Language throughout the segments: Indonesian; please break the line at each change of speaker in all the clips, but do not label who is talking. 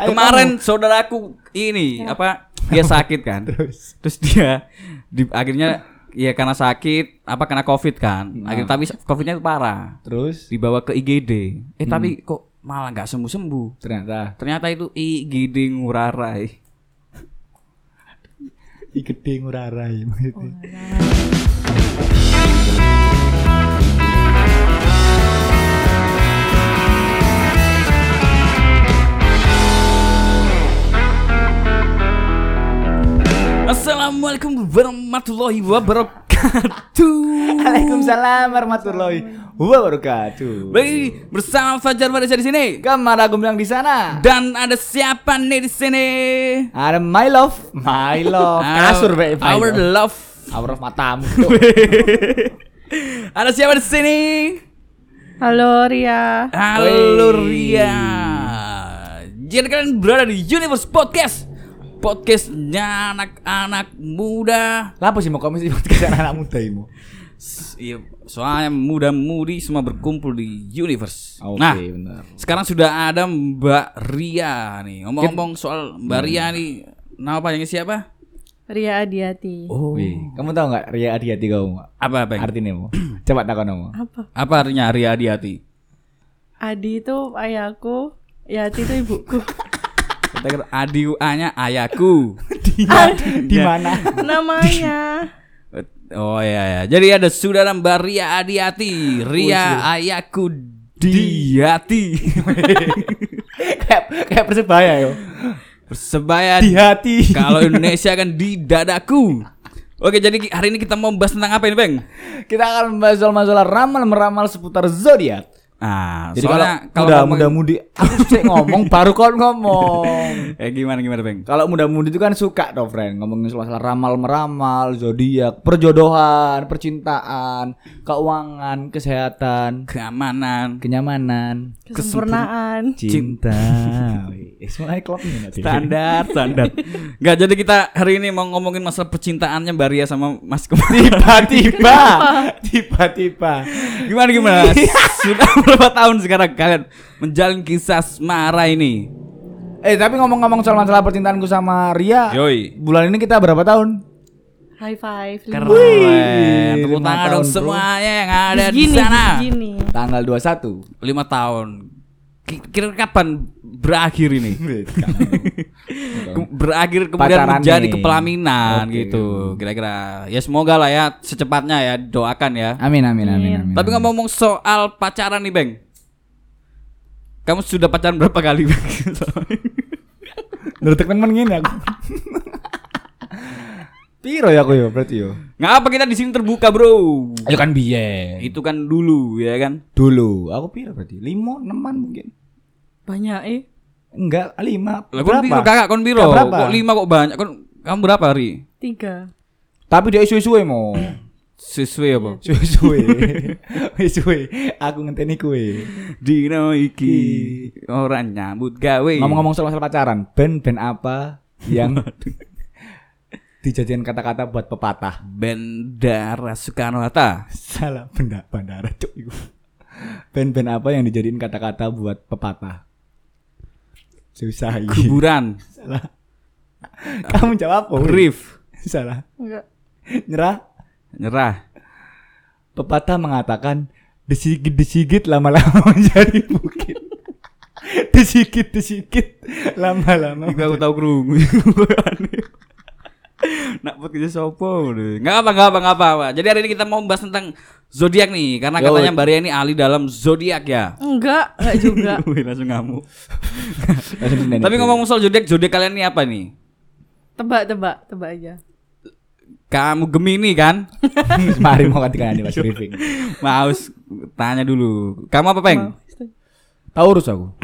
Ayo Ya.
Kemarin saudaraku ini apa dia sakit kan. Terus, dia di, akhirnya ya karena sakit apa karena covid kan.
Hmm.
Akhirnya tapi covidnya itu parah.
Terus
Dibawa ke IGD. Eh
Hmm.
tapi kok malah nggak sembuh sembuh.
ternyata
Ternyata itu IGD Ngurarai.
igede ngurarai maksudnya.
Assalamualaikum warahmatullahi wabarakatuh.
Waalaikumsalam warahmatullahi wabarakatuh.
Baik bersama Fajar Barisa di sini.
Kamar aku bilang di sana.
Dan ada siapa nih di sini?
Ada my love, my love. Oh, Kasur bae. my
Our
love.
love.
Our love matamu.
ada siapa di sini?
Halo Ria.
Halo
Wey.
Ria. Jadi kalian berada di Universe Podcast. Podcastnya anak-anak muda.
Lapo sih mau komisi buat kesana anak muda imu.
S- Iya, soalnya muda-mudi semua berkumpul di Universe.
Oke,
nah,
benar.
sekarang sudah ada Mbak Ria nih. Ngomong-ngomong soal Mbak Ria nih, nama panjangnya siapa?
Ria Adiati.
Oh.
Wih, kamu tahu nggak Ria Adiati kamu?
Apa apa?
Artinya mu. Coba takon kamu.
Apa?
Apa artinya Ria Adiati?
Adi itu ayahku, Yati itu ibuku.
Kita kira Adi UA-nya ayahku.
Di mana?
Namanya.
Oh iya ya. Jadi ada saudara Mbak Ria
Ah,
Adiati,
oh,
Ria
iya.
ayahku Diati.
kayak kayak persebaya yo.
Persebaya
Di hati.
kalau Indonesia kan di dadaku. Oke, jadi ki- hari ini kita mau bahas tentang apa ini, Bang?
Kita akan membahas soal masalah ramal meramal seputar zodiak.
Ah,
Jadi kalau,
soalnya
kalau
kalau
muda
ngomong-
muda mudi aku sih ngomong baru kau ngomong.
eh gimana gimana, Bang?
Kalau muda mudi itu kan suka toh friend ngomongin soal masalah ramal meramal, zodiak, perjodohan, percintaan, keuangan, kesehatan,
Keamanan,
kenyamanan,
Kesempurnaan.
cinta. Wih, Semuanya klop ini nanti.
standar, standar. Enggak, jadi kita hari ini mau ngomongin masalah percintaannya Mbak Ria sama Mas Kemal.
Tiba-tiba, tiba-tiba.
Gimana gimana? Sudah berapa tahun sekarang kalian menjalin kisah asmara ini?
Eh tapi ngomong-ngomong soal masalah percintaanku sama Ria,
Yoi.
bulan ini kita berapa tahun?
High five. lima.
Keren. Tepuk
lima
tangan
tahun,
dong
bro.
semuanya yang ada di
Gini,
sana.
gini.
Tanggal 21
Lima tahun. Ki- Kira kapan berakhir ini? Ke- berakhir kemudian
Pacaran
menjadi
nih.
kepelaminan
Oke.
gitu. Kira-kira ya semoga lah ya secepatnya ya doakan ya.
Amin amin amin amin.
Tapi ngomong soal pacaran nih, Bang. Kamu sudah pacaran berapa kali, Bang?
Nurut temen ngene aku. Piro ya aku yo berarti yo.
Nggak apa kita di sini terbuka bro.
Ayo kan biyen.
Itu kan dulu ya kan.
Dulu aku piro berarti? 5 neman mungkin.
Banyak eh.
Enggak, 5.
Lah kon biro kakak kon biro.
Berapa?
Kok lima kok banyak kon kamu berapa hari?
Tiga.
Tapi dia suwe-suwe mo.
Sesuai apa?
Suwe-suwe. Suwe-suwe. e. Aku ngenteni e. kue.
Dino iki orang nyambut gawe.
Ngomong-ngomong soal masalah pacaran, ben-ben apa yang dijadikan kata-kata buat pepatah?
Bandara Soekarno Hatta.
Salah benda bandara cuk iku. Ben-ben apa yang dijadiin kata-kata buat pepatah? Susah iki.
Kuburan.
Salah. Kamu jawab apa? Wi?
Rif.
Salah.
Enggak.
Nyerah.
Nyerah.
Pepatah mengatakan desigit desigit lama-lama menjadi bukit. desigit desigit lama-lama.
Iku aku tahu krungu. Nak buat kerja sopo Enggak apa enggak apa enggak apa. apa. Jadi hari ini kita mau bahas tentang zodiak nih karena
Yo.
katanya Mbak Ria ini ahli dalam zodiak ya.
Enggak, enggak juga.
Wih, langsung ngamuk.
Langsung nenek.
Tapi ngomong soal zodiak, zodiak kalian ini apa nih?
Tebak-tebak, tebak aja.
Kamu Gemini kan?
mari mau katakan ini Mas briefing.
Maus tanya dulu. Kamu apa, Peng?
Taurus aku.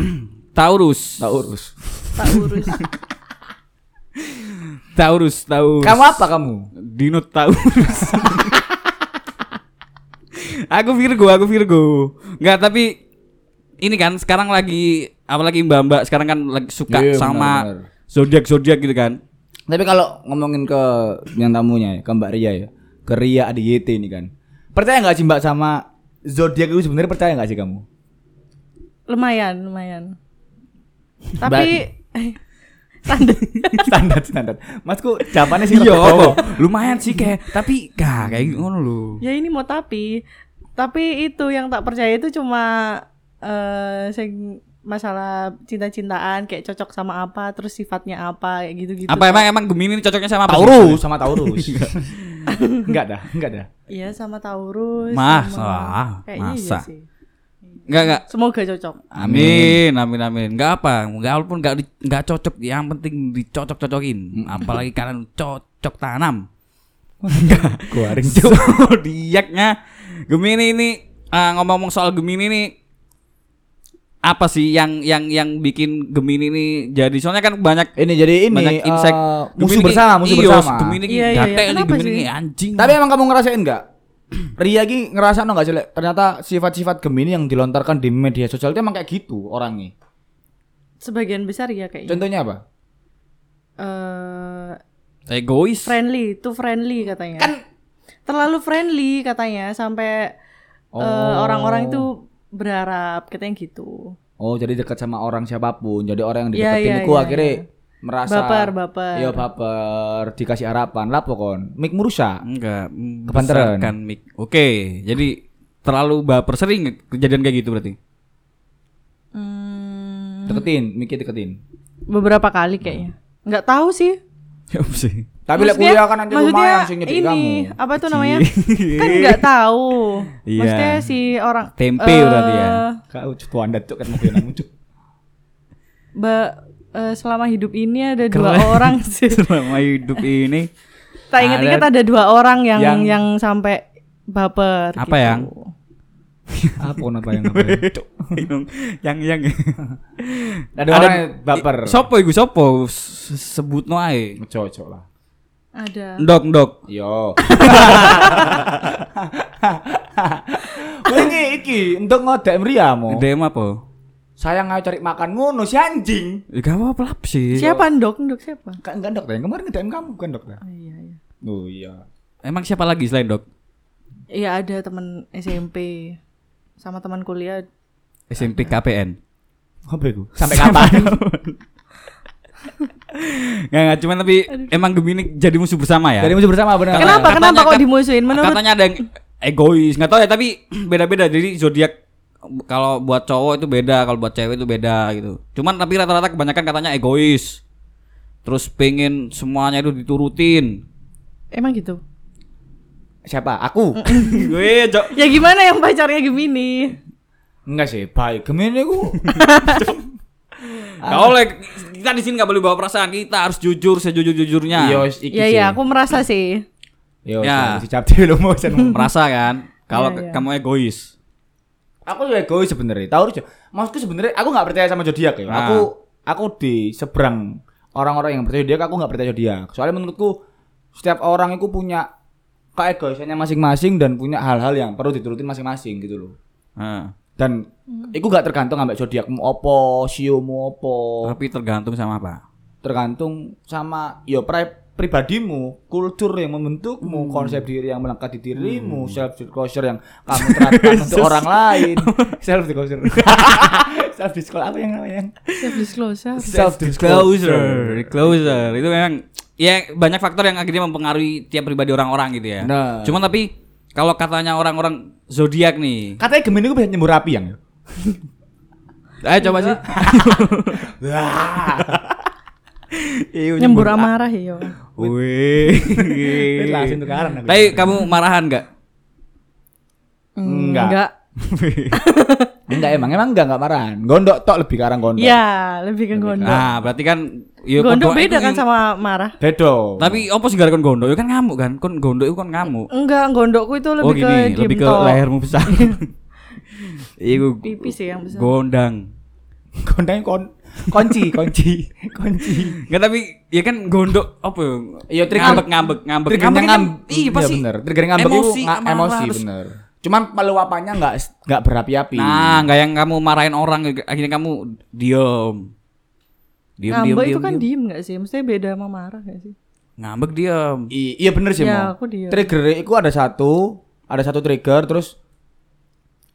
Taurus.
Taurus.
Tak urus.
Taurus, Taurus.
Kamu apa kamu?
Dino Taurus. aku Virgo, aku Virgo. Enggak, tapi ini kan sekarang lagi apalagi Mbak-mbak sekarang kan lagi suka
Iya,
sama
benar-benar.
zodiak-zodiak gitu kan.
Tapi kalau ngomongin ke yang tamunya ya, ke Mbak Ria ya, ke Ria Adiyete ini kan. Percaya nggak sih Mbak sama zodiak itu sebenarnya percaya nggak sih kamu?
lumayan, lumayan. Tapi eh, Standar.
standar standar. Masku jawabannya sih
Iya,
rada
apa? lumayan sih kayak tapi gak kayak ngono lho.
ya ini mau tapi tapi itu yang tak percaya itu cuma eh sing masalah cinta-cintaan kayak cocok sama apa terus sifatnya apa kayak gitu-gitu.
Apa emang emang Gemini ini cocoknya sama apa? sih?
Gitu. Taurus sama Taurus. enggak dah, enggak dah.
Iya sama Taurus.
Masa?
sama- Kayaknya iya
Masa?
sih.
Enggak enggak.
Semoga cocok.
Amin, amin, amin. Enggak apa, enggak walaupun enggak di- enggak cocok, yang penting dicocok-cocokin. Apalagi kalian cocok tanam.
Kuaring
Zodiaknya Gemini ini ah, ngomong-ngomong soal Gemini nih apa sih yang yang yang bikin Gemini ini jadi soalnya kan banyak
Ini jadi ini
banyak insek
eh, musuh bersama, musuh bersama.
Gemini
Iya,
iya,
iya, iya. Kenapa
Gemini
sih?
ini anjing.
Tapi emang kamu ngerasain nggak? Ria Ki ngerasa no nggak sih? Le? Ternyata sifat-sifat Gemini yang dilontarkan di media sosial itu emang kayak gitu orangnya.
Sebagian besar ya kayaknya.
Contohnya apa?
Eh
egois.
friendly, too friendly katanya. Kan terlalu friendly katanya sampai eh,
Oh.
orang-orang itu berharap katanya gitu.
Oh, jadi dekat sama orang siapapun. Jadi orang yang
Iya,
dideketin
iya,
iku
iya,
akhirnya
iya.
merasa
Baper, baper.
Iya, baper, dikasih harapan. Lah pokon, mik merusak.
Enggak,
Kepanteran.
membesarkan mic. Oke, jadi terlalu baper sering kejadian kayak gitu berarti.
Hmm,
Deketin, miknya deketin.
beberapa kali kayaknya. Nggak tahu sih.
Iya,
Ya apa sih.
Tapi lek
Maksudnya-
kuliah kan nanti
maksudnya
lumayan sih nyedik
ini,
kamu.
apa tuh namanya? kan nggak tahu.
Iya.
Maksudnya si orang
Tempe berarti ya.
eh,
Kau cukup anda cuk kan mau kena muncul.
ba- eh, selama hidup ini ada dua orang sih.
Selama hidup ini
Tak ingat-ingat ada dua orang yang yang, sampai baper.
Apa
gitu.
yang?
Apa kenapa yang ngapain?
yang yang
Ada orang yang baper.
I- Sopo iku sopo S- sebutno ae.
Cocok lah. Iya.
Ada.
Ndok ndok.
Yo. Wingi iki entuk ngodek mriyamu.
DM apa?
Sayang ayo cari makan ngono si anjing.
Ya, Gak apa-apa lah sih.
Siapa ndok? Ndok siapa?
Kan enggak dok, yang kemarin ngedem kamu kan dok. ya?
Oh, iya, iya.
Oh iya.
Emang siapa lagi selain Dok?
Iya ada teman SMP sama teman kuliah
SMP KPN.
Apa itu? Sampai kapan?
Nggak, nggak, cuman tapi emang Gemini jadi musuh bersama ya.
Dari musuh bersama benar.
Kenapa?
Katanya-
Kenapa kok
kat-
dimusuhin? Menurut
Katanya ada yang egois, nggak tahu ya tapi beda-beda. Jadi zodiak kalau buat cowok itu beda, kalau buat cewek itu beda gitu. Cuman tapi rata-rata kebanyakan katanya egois. Terus pengen semuanya itu diturutin.
emang gitu.
Siapa? Aku.
Gue cok.
Ya gimana yang pacarnya Gemini?
Enggak sih, baik. Gemini ku.
Gak boleh kita di sini nggak boleh bawa perasaan. Kita harus jujur sejujur-jujurnya.
Yo Iya, iki. Iya,
Ya ya, aku merasa sih.
Yo,
Ya.
si capti lu mau sen.
Merasa kan kalau ke- kamu egois.
Aku juga egois sebenarnya. Tahu aja. Maksudku sebenarnya aku nggak percaya sama zodiak ya. Aku aku di seberang orang-orang yang percaya zodiak, aku nggak percaya zodiak. Soalnya menurutku setiap orang itu punya keegoisannya masing-masing dan punya hal-hal yang perlu diturutin masing-masing gitu loh.
Nah,
Dan itu gak tergantung ambek zodiakmu opo, siomu opo.
tapi tergantung sama apa.
Tergantung sama yo pri- pribadimu, kultur yang membentukmu, konsep diri yang melekat di dirimu, self disclosure yang kamu terapkan untuk orang lain. self disclosure. self disclosure apa yang namanya?
Self disclosure.
self
Closer, closer. Itu memang ya banyak faktor yang akhirnya mempengaruhi tiap pribadi orang-orang gitu ya.
Nah.
Cuman tapi kalau katanya orang-orang zodiak nih,
Katanya Gemini gue bisa nyembur api yang.
ayo coba sih.
Iya,
Nyembur amarah ya. yo.
Wih.
Langsung tukaran aku.
Tapi kamu marahan nggak?
Hmm,
Enggak. Enggak emang emang enggak enggak marahan. Gondok tok lebih karang gondok.
Ya, lebih ke gondok.
Nah, berarti kan ya
Gondok
kondoan
beda
itu
kan
yang-
sama marah.
Bedo.
Tapi opo sih gara kon gondok? Ya kan ngamuk kan? Kon gondok itu kon ngamuk.
Enggak, gondokku itu lebih
oh gini,
ke
lebih
diem
ke
tok.
lehermu besar. Iku
Pipi sih yang besar.
gondang.
gondoknya kon kunci kunci kunci.
Enggak tapi ya kan gondok apa ya?
Iya, trigger-
ngambek ngambek ngambek.
Triggernya
kan-
ngam-
Iya pasti.
bener. Trigger ngambek itu
emosi,
nga-
marah,
emosi
terus-
bener. Cuman peluapannya enggak enggak berapi-api.
Nah, enggak yang kamu marahin orang akhirnya kamu diem. Diem diem
Ngambek itu
diem.
kan
diem.
diem nggak sih? Maksudnya beda sama marah nggak sih?
Ngambek diem.
I- iya bener sih
Ya,
Mo.
aku diem.
Trigger itu ada satu, ada satu trigger terus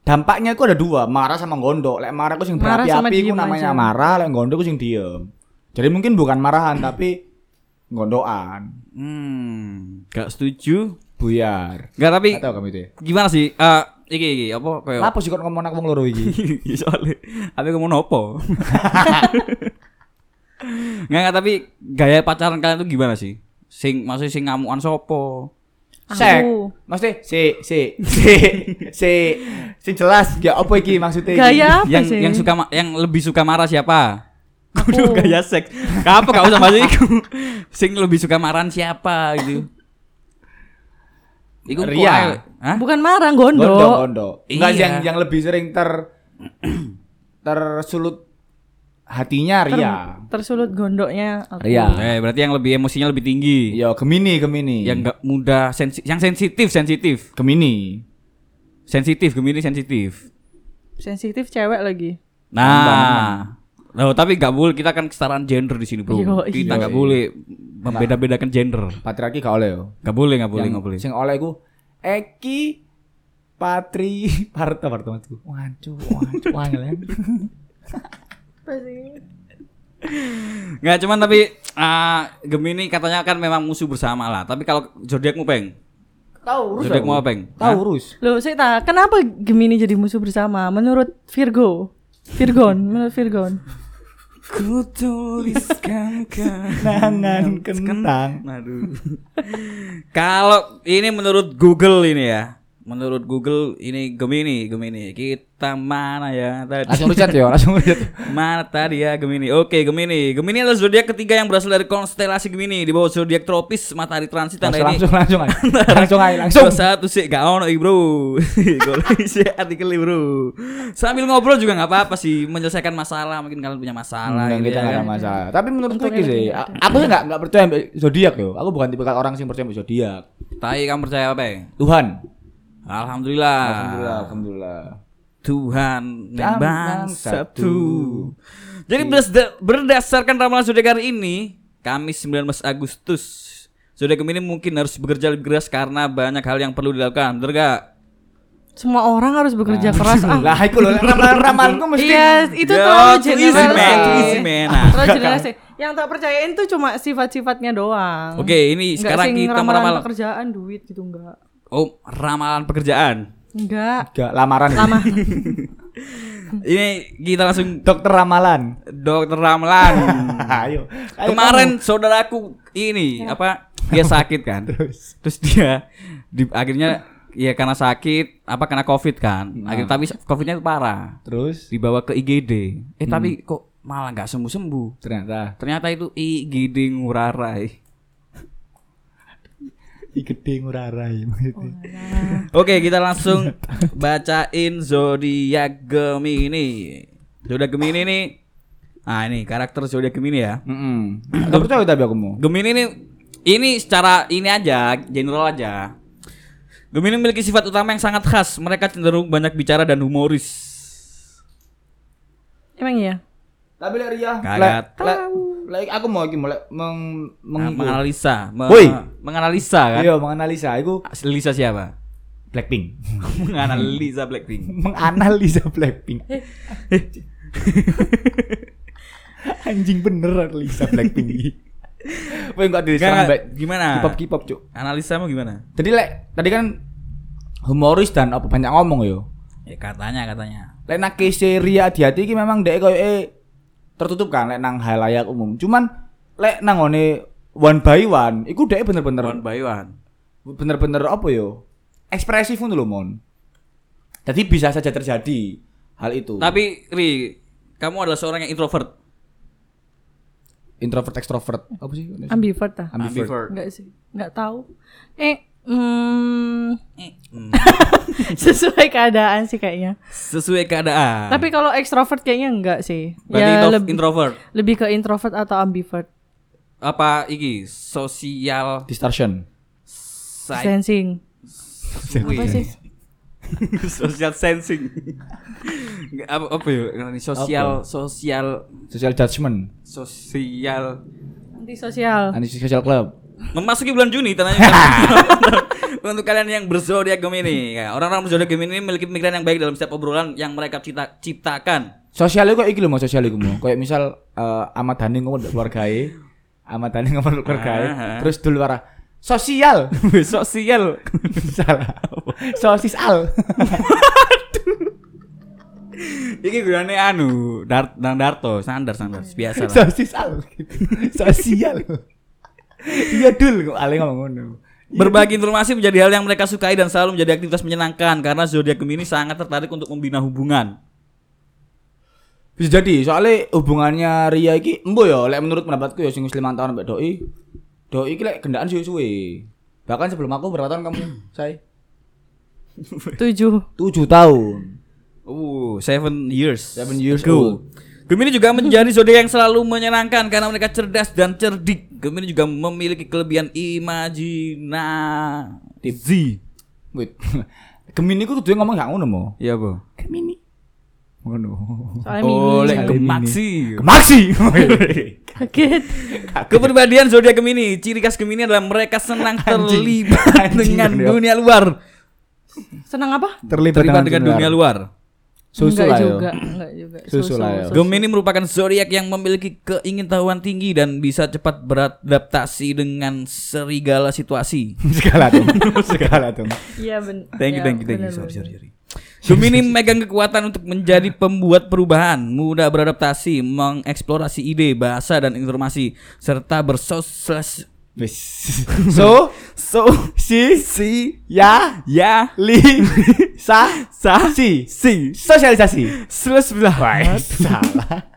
dampaknya itu ada dua, marah sama gondok. Lek marah aku sing
Marah sama
berapi-api itu
diem
namanya
aja.
marah, lek gondok aku sing diem. Jadi mungkin bukan marahan tapi gondoan,
Hmm, gak setuju.
buyar.
Gak tapi
Gak tahu kamu itu ya.
gimana sih? Eh, iki iki apa kayak
Apa sih kok ngomong aku wong loro iki?
Iya, soalnya tapi ngomong apa? Nggak, nggak, tapi gaya pacaran kalian tuh gimana sih? Sing maksudnya sing ngamukan sopo?
Sek.
Aku.
Maksudnya si si si si si jelas ya apa iki maksudnya? iki?
Gaya apa
yang
sih?
yang suka ma- yang lebih suka marah siapa?
Aku.
Kudu gaya ya seks. Apa gak usah bahas iku. Sing lebih suka marahan siapa gitu. Iku
Ria.
kok ae- Hah?
Bukan marah, gondok.
Gondo, gondo. Enggak
Iya.
yang yang lebih sering ter tersulut hatinya
Ter-
Iya.
Ria.
tersulut gondoknya.
Ria.
Aku.
Iya.
Eh, berarti yang lebih emosinya lebih tinggi.
Yo Gemini, Gemini.
Yang gak mudah sensi- yang sensitif, sensitif.
Gemini.
Sensitif, Gemini sensitif.
Sensitif cewek lagi.
Nah, loh tapi nggak boleh kita kan kesetaraan gender di sini bro.
Yo,
kita
iya.
nggak boleh membeda-bedakan gender.
Patriarki gak oleh yo.
Nggak boleh, nggak boleh,
Yang
nggak boleh.
Sing oleh iku Eki Patri Parto Parto maksudku. Wancu, wancu, wangel.
Nggak cuman tapi ah, Gemini katanya kan memang musuh bersama lah. Tapi kalau zodiakmu peng,
Tahu urus.
zodiak
aku.
mau peng.
Tahu urus.
Loh, saya tak, kenapa Gemini jadi musuh bersama? Menurut Virgo. Virgon, menurut Virgon.
Ku tuliskan
Nangan kentang.
Aduh. Kalau ini menurut Google ini ya. Menurut Google ini Gemini, Gemini. Kita mana ya tadi?
Langsung riset yo, langsung riset.
Mana tadi ya Gemini? Oke Gemini. Gemini adalah zodiak ketiga yang berasal dari konstelasi Gemini di bawah zodiak tropis Matahari transit tanda ini.
Langsung langsung aja. Langsung aja, langsung.
Satu sih gak ono i, bro. Golek sih artikel i, bro. Sambil ngobrol juga nggak apa-apa sih menyelesaikan masalah. Mungkin kalian punya masalah.
Enggak,
gitu
Hmm, kita
ya
nggak
kan.
ada masalah. Tapi menurutku
Untungnya
iki sih,
lagi nggak
a- aku sih nggak nggak percaya ambil zodiak yo. Aku bukan tipe orang sih percaya ambil zodiak.
Tai kamu percaya apa? Peng?
Tuhan.
Alhamdulillah.
Alhamdulillah, alhamdullah.
Tuhan
Dan
memang
satu. Iya.
satu. Jadi berdas- berdasarkan ramalan zodiak hari ini, Kamis 19 Agustus, zodiak Gemini mungkin harus bekerja lebih keras karena banyak hal yang perlu dilakukan. Bener gak?
Semua orang harus bekerja keras. Ah,
Lah, iku lho ramalan ramalanku mesti
Iya, itu
Ya,
terlalu
too easy,
general
man,
sih.
too easy, man. Nah.
Terlalu general sih. Yang tak percayain tuh cuma sifat-sifatnya doang.
Oke, ini
Nggak
sekarang
sing
kita
ramalan
meramal.
pekerjaan, duit gitu enggak.
Oh, ramalan pekerjaan.
Enggak.
Gak lamaran. Lama.
ini kita langsung
Dokter ramalan.
dokter ramalan.
Hmm. Ayo. ayo Ya.
Kemarin saudaraku ini apa? Dia sakit kan.
Terus?
Terus dia di, akhirnya ya karena sakit apa karena covid kan.
Nah.
Akhirnya tapi covidnya itu
kamu.
parah.
terus
dibawa ke IGD. Eh tapi
Hmm.
kok malah nggak sembuh sembuh.
ternyata
Ternyata itu IGD Ngurarai.
i gede ngurarai maksudnya.
Oke kita langsung bacain zodiak Gemini. Zodiak Gemini nih. Ah ini karakter zodiak Gemini ya.
Heeh. Gak percaya tapi aku mau.
Gemini ini ini secara ini aja general aja. Gemini memiliki sifat utama yang sangat khas. Mereka cenderung banyak bicara dan humoris.
Emang iya?
Tapi lek Ria,
Kagak
lek lek aku mau iki mau lek meng
Nah,
meng
menganalisa, me-
Woi.
menganalisa kan?
Iya, menganalisa iku
Lisa siapa?
Blackpink.
menganalisa Blackpink.
menganalisa Blackpink.
Eh.
Anjing bener analisa Blackpink iki. Woi enggak diri
Gak,
serang
gak.
baik.
gimana?
K-pop K-pop, Cuk.
Analisa mau gimana?
Jadi lek tadi kan humoris dan apa banyak ngomong yo.
Ya katanya katanya.
Lek nak kese Ria Adiati iki memang dhek koyo eh, tertutup kan lek nang halayak umum. Cuman lek nang ngone one by one iku dhek bener-bener
One by one.
bener-bener apa yo ekspresif ngono lho mon jadi bisa saja terjadi hal itu
Tapi Ri, kamu adalah seorang yang introvert.
introvert extrovert apa sih
Ambivert ah.
Ambivert.
Enggak sih. Enggak tahu. Eh, hmm,
Eh, mm.
sesuai keadaan sih kayaknya.
Sesuai keadaan.
Tapi kalau ekstrovert kayaknya enggak sih.
ya
Nah. Berarti intro-
lebih
introvert.
lebih ke introvert atau ambivert.
Apa iki? Sosial
distortion
side.
Sensing. Apa sih?
Social sensing. Nggak, apa apa ya? Ini Sosial sosial
social judgment
sosial.
Antisosial.
anti social club
Memasuki bulan Juni tanahnya. Untuk kalian yang berzodiak Gemini, ya, orang-orang berzodiak Gemini ini memiliki pemikiran yang baik dalam setiap obrolan yang mereka cita- ciptakan.
sosial iku kayak iki lho mau sosial iku mau. Kayak misal eh, Ahmad Dhani ngomong ndak keluargae. Ahmad Dhani ngomong ndak keluargae. Terus dul warah sosial.
sosial
Salah. Sosis al.
iki gunane anu dar nang darto standar standar
Iya.
biasa lah
Sosis al gitu. Sosial. Iya dul kok ale ngomong ngono.
Berbagi informasi menjadi hal yang mereka sukai dan selalu menjadi aktivitas menyenangkan karena zodiak Gemini sangat tertarik untuk membina hubungan.
Bisa jadi soalnya hubungannya Ria iki embo ya lek menurut pendapatku ya sing wis 5 tahun mbak doi. Doi iki lek gendaan suwe-suwe. Bahkan sebelum aku berapa tahun kamu, Say?
Tujuh.
7 tahun.
Uh, seven years.
Seven years
ago. Gemini juga menjadi zodiak yang selalu menyenangkan karena mereka cerdas dan cerdik. Gemini juga memiliki kelebihan imajinasi.
Wait. Gemini ku kudu ngomong gak ngono mo.
Iya, Bu.
Gemini. Ngono.
Soalnya
Oh,
mini.
lek gemaksi.
Gemaksi.
Kaget.
Kepribadian zodiak Gemini, ciri khas Gemini adalah mereka senang
Anjing.
terlibat
Anjing,
dengan
bener.
dunia luar.
Senang apa?
Terlibat,
Terlibat dengan dunia luar.
Susu
enggak
lah ya. yo.
juga, enggak juga.
Susu lah ya.
Gemini merupakan zodiak yang memiliki keingintahuan tinggi dan bisa cepat beradaptasi dengan serigala situasi.
Segala dong. Segala dong.
Iya ben-
Thank you,
ya,
thank you, thank you.
bener,
Sorry,
bener.
sorry, sorry. Gemini memegang kekuatan untuk menjadi pembuat perubahan, mudah beradaptasi, mengeksplorasi ide, bahasa dan informasi, serta bersosialisasi.
Wis. So,
So,
si
si,
ya
ya,
li sa
sa,
si
si,
sosialisasi.
selesai.
Salah.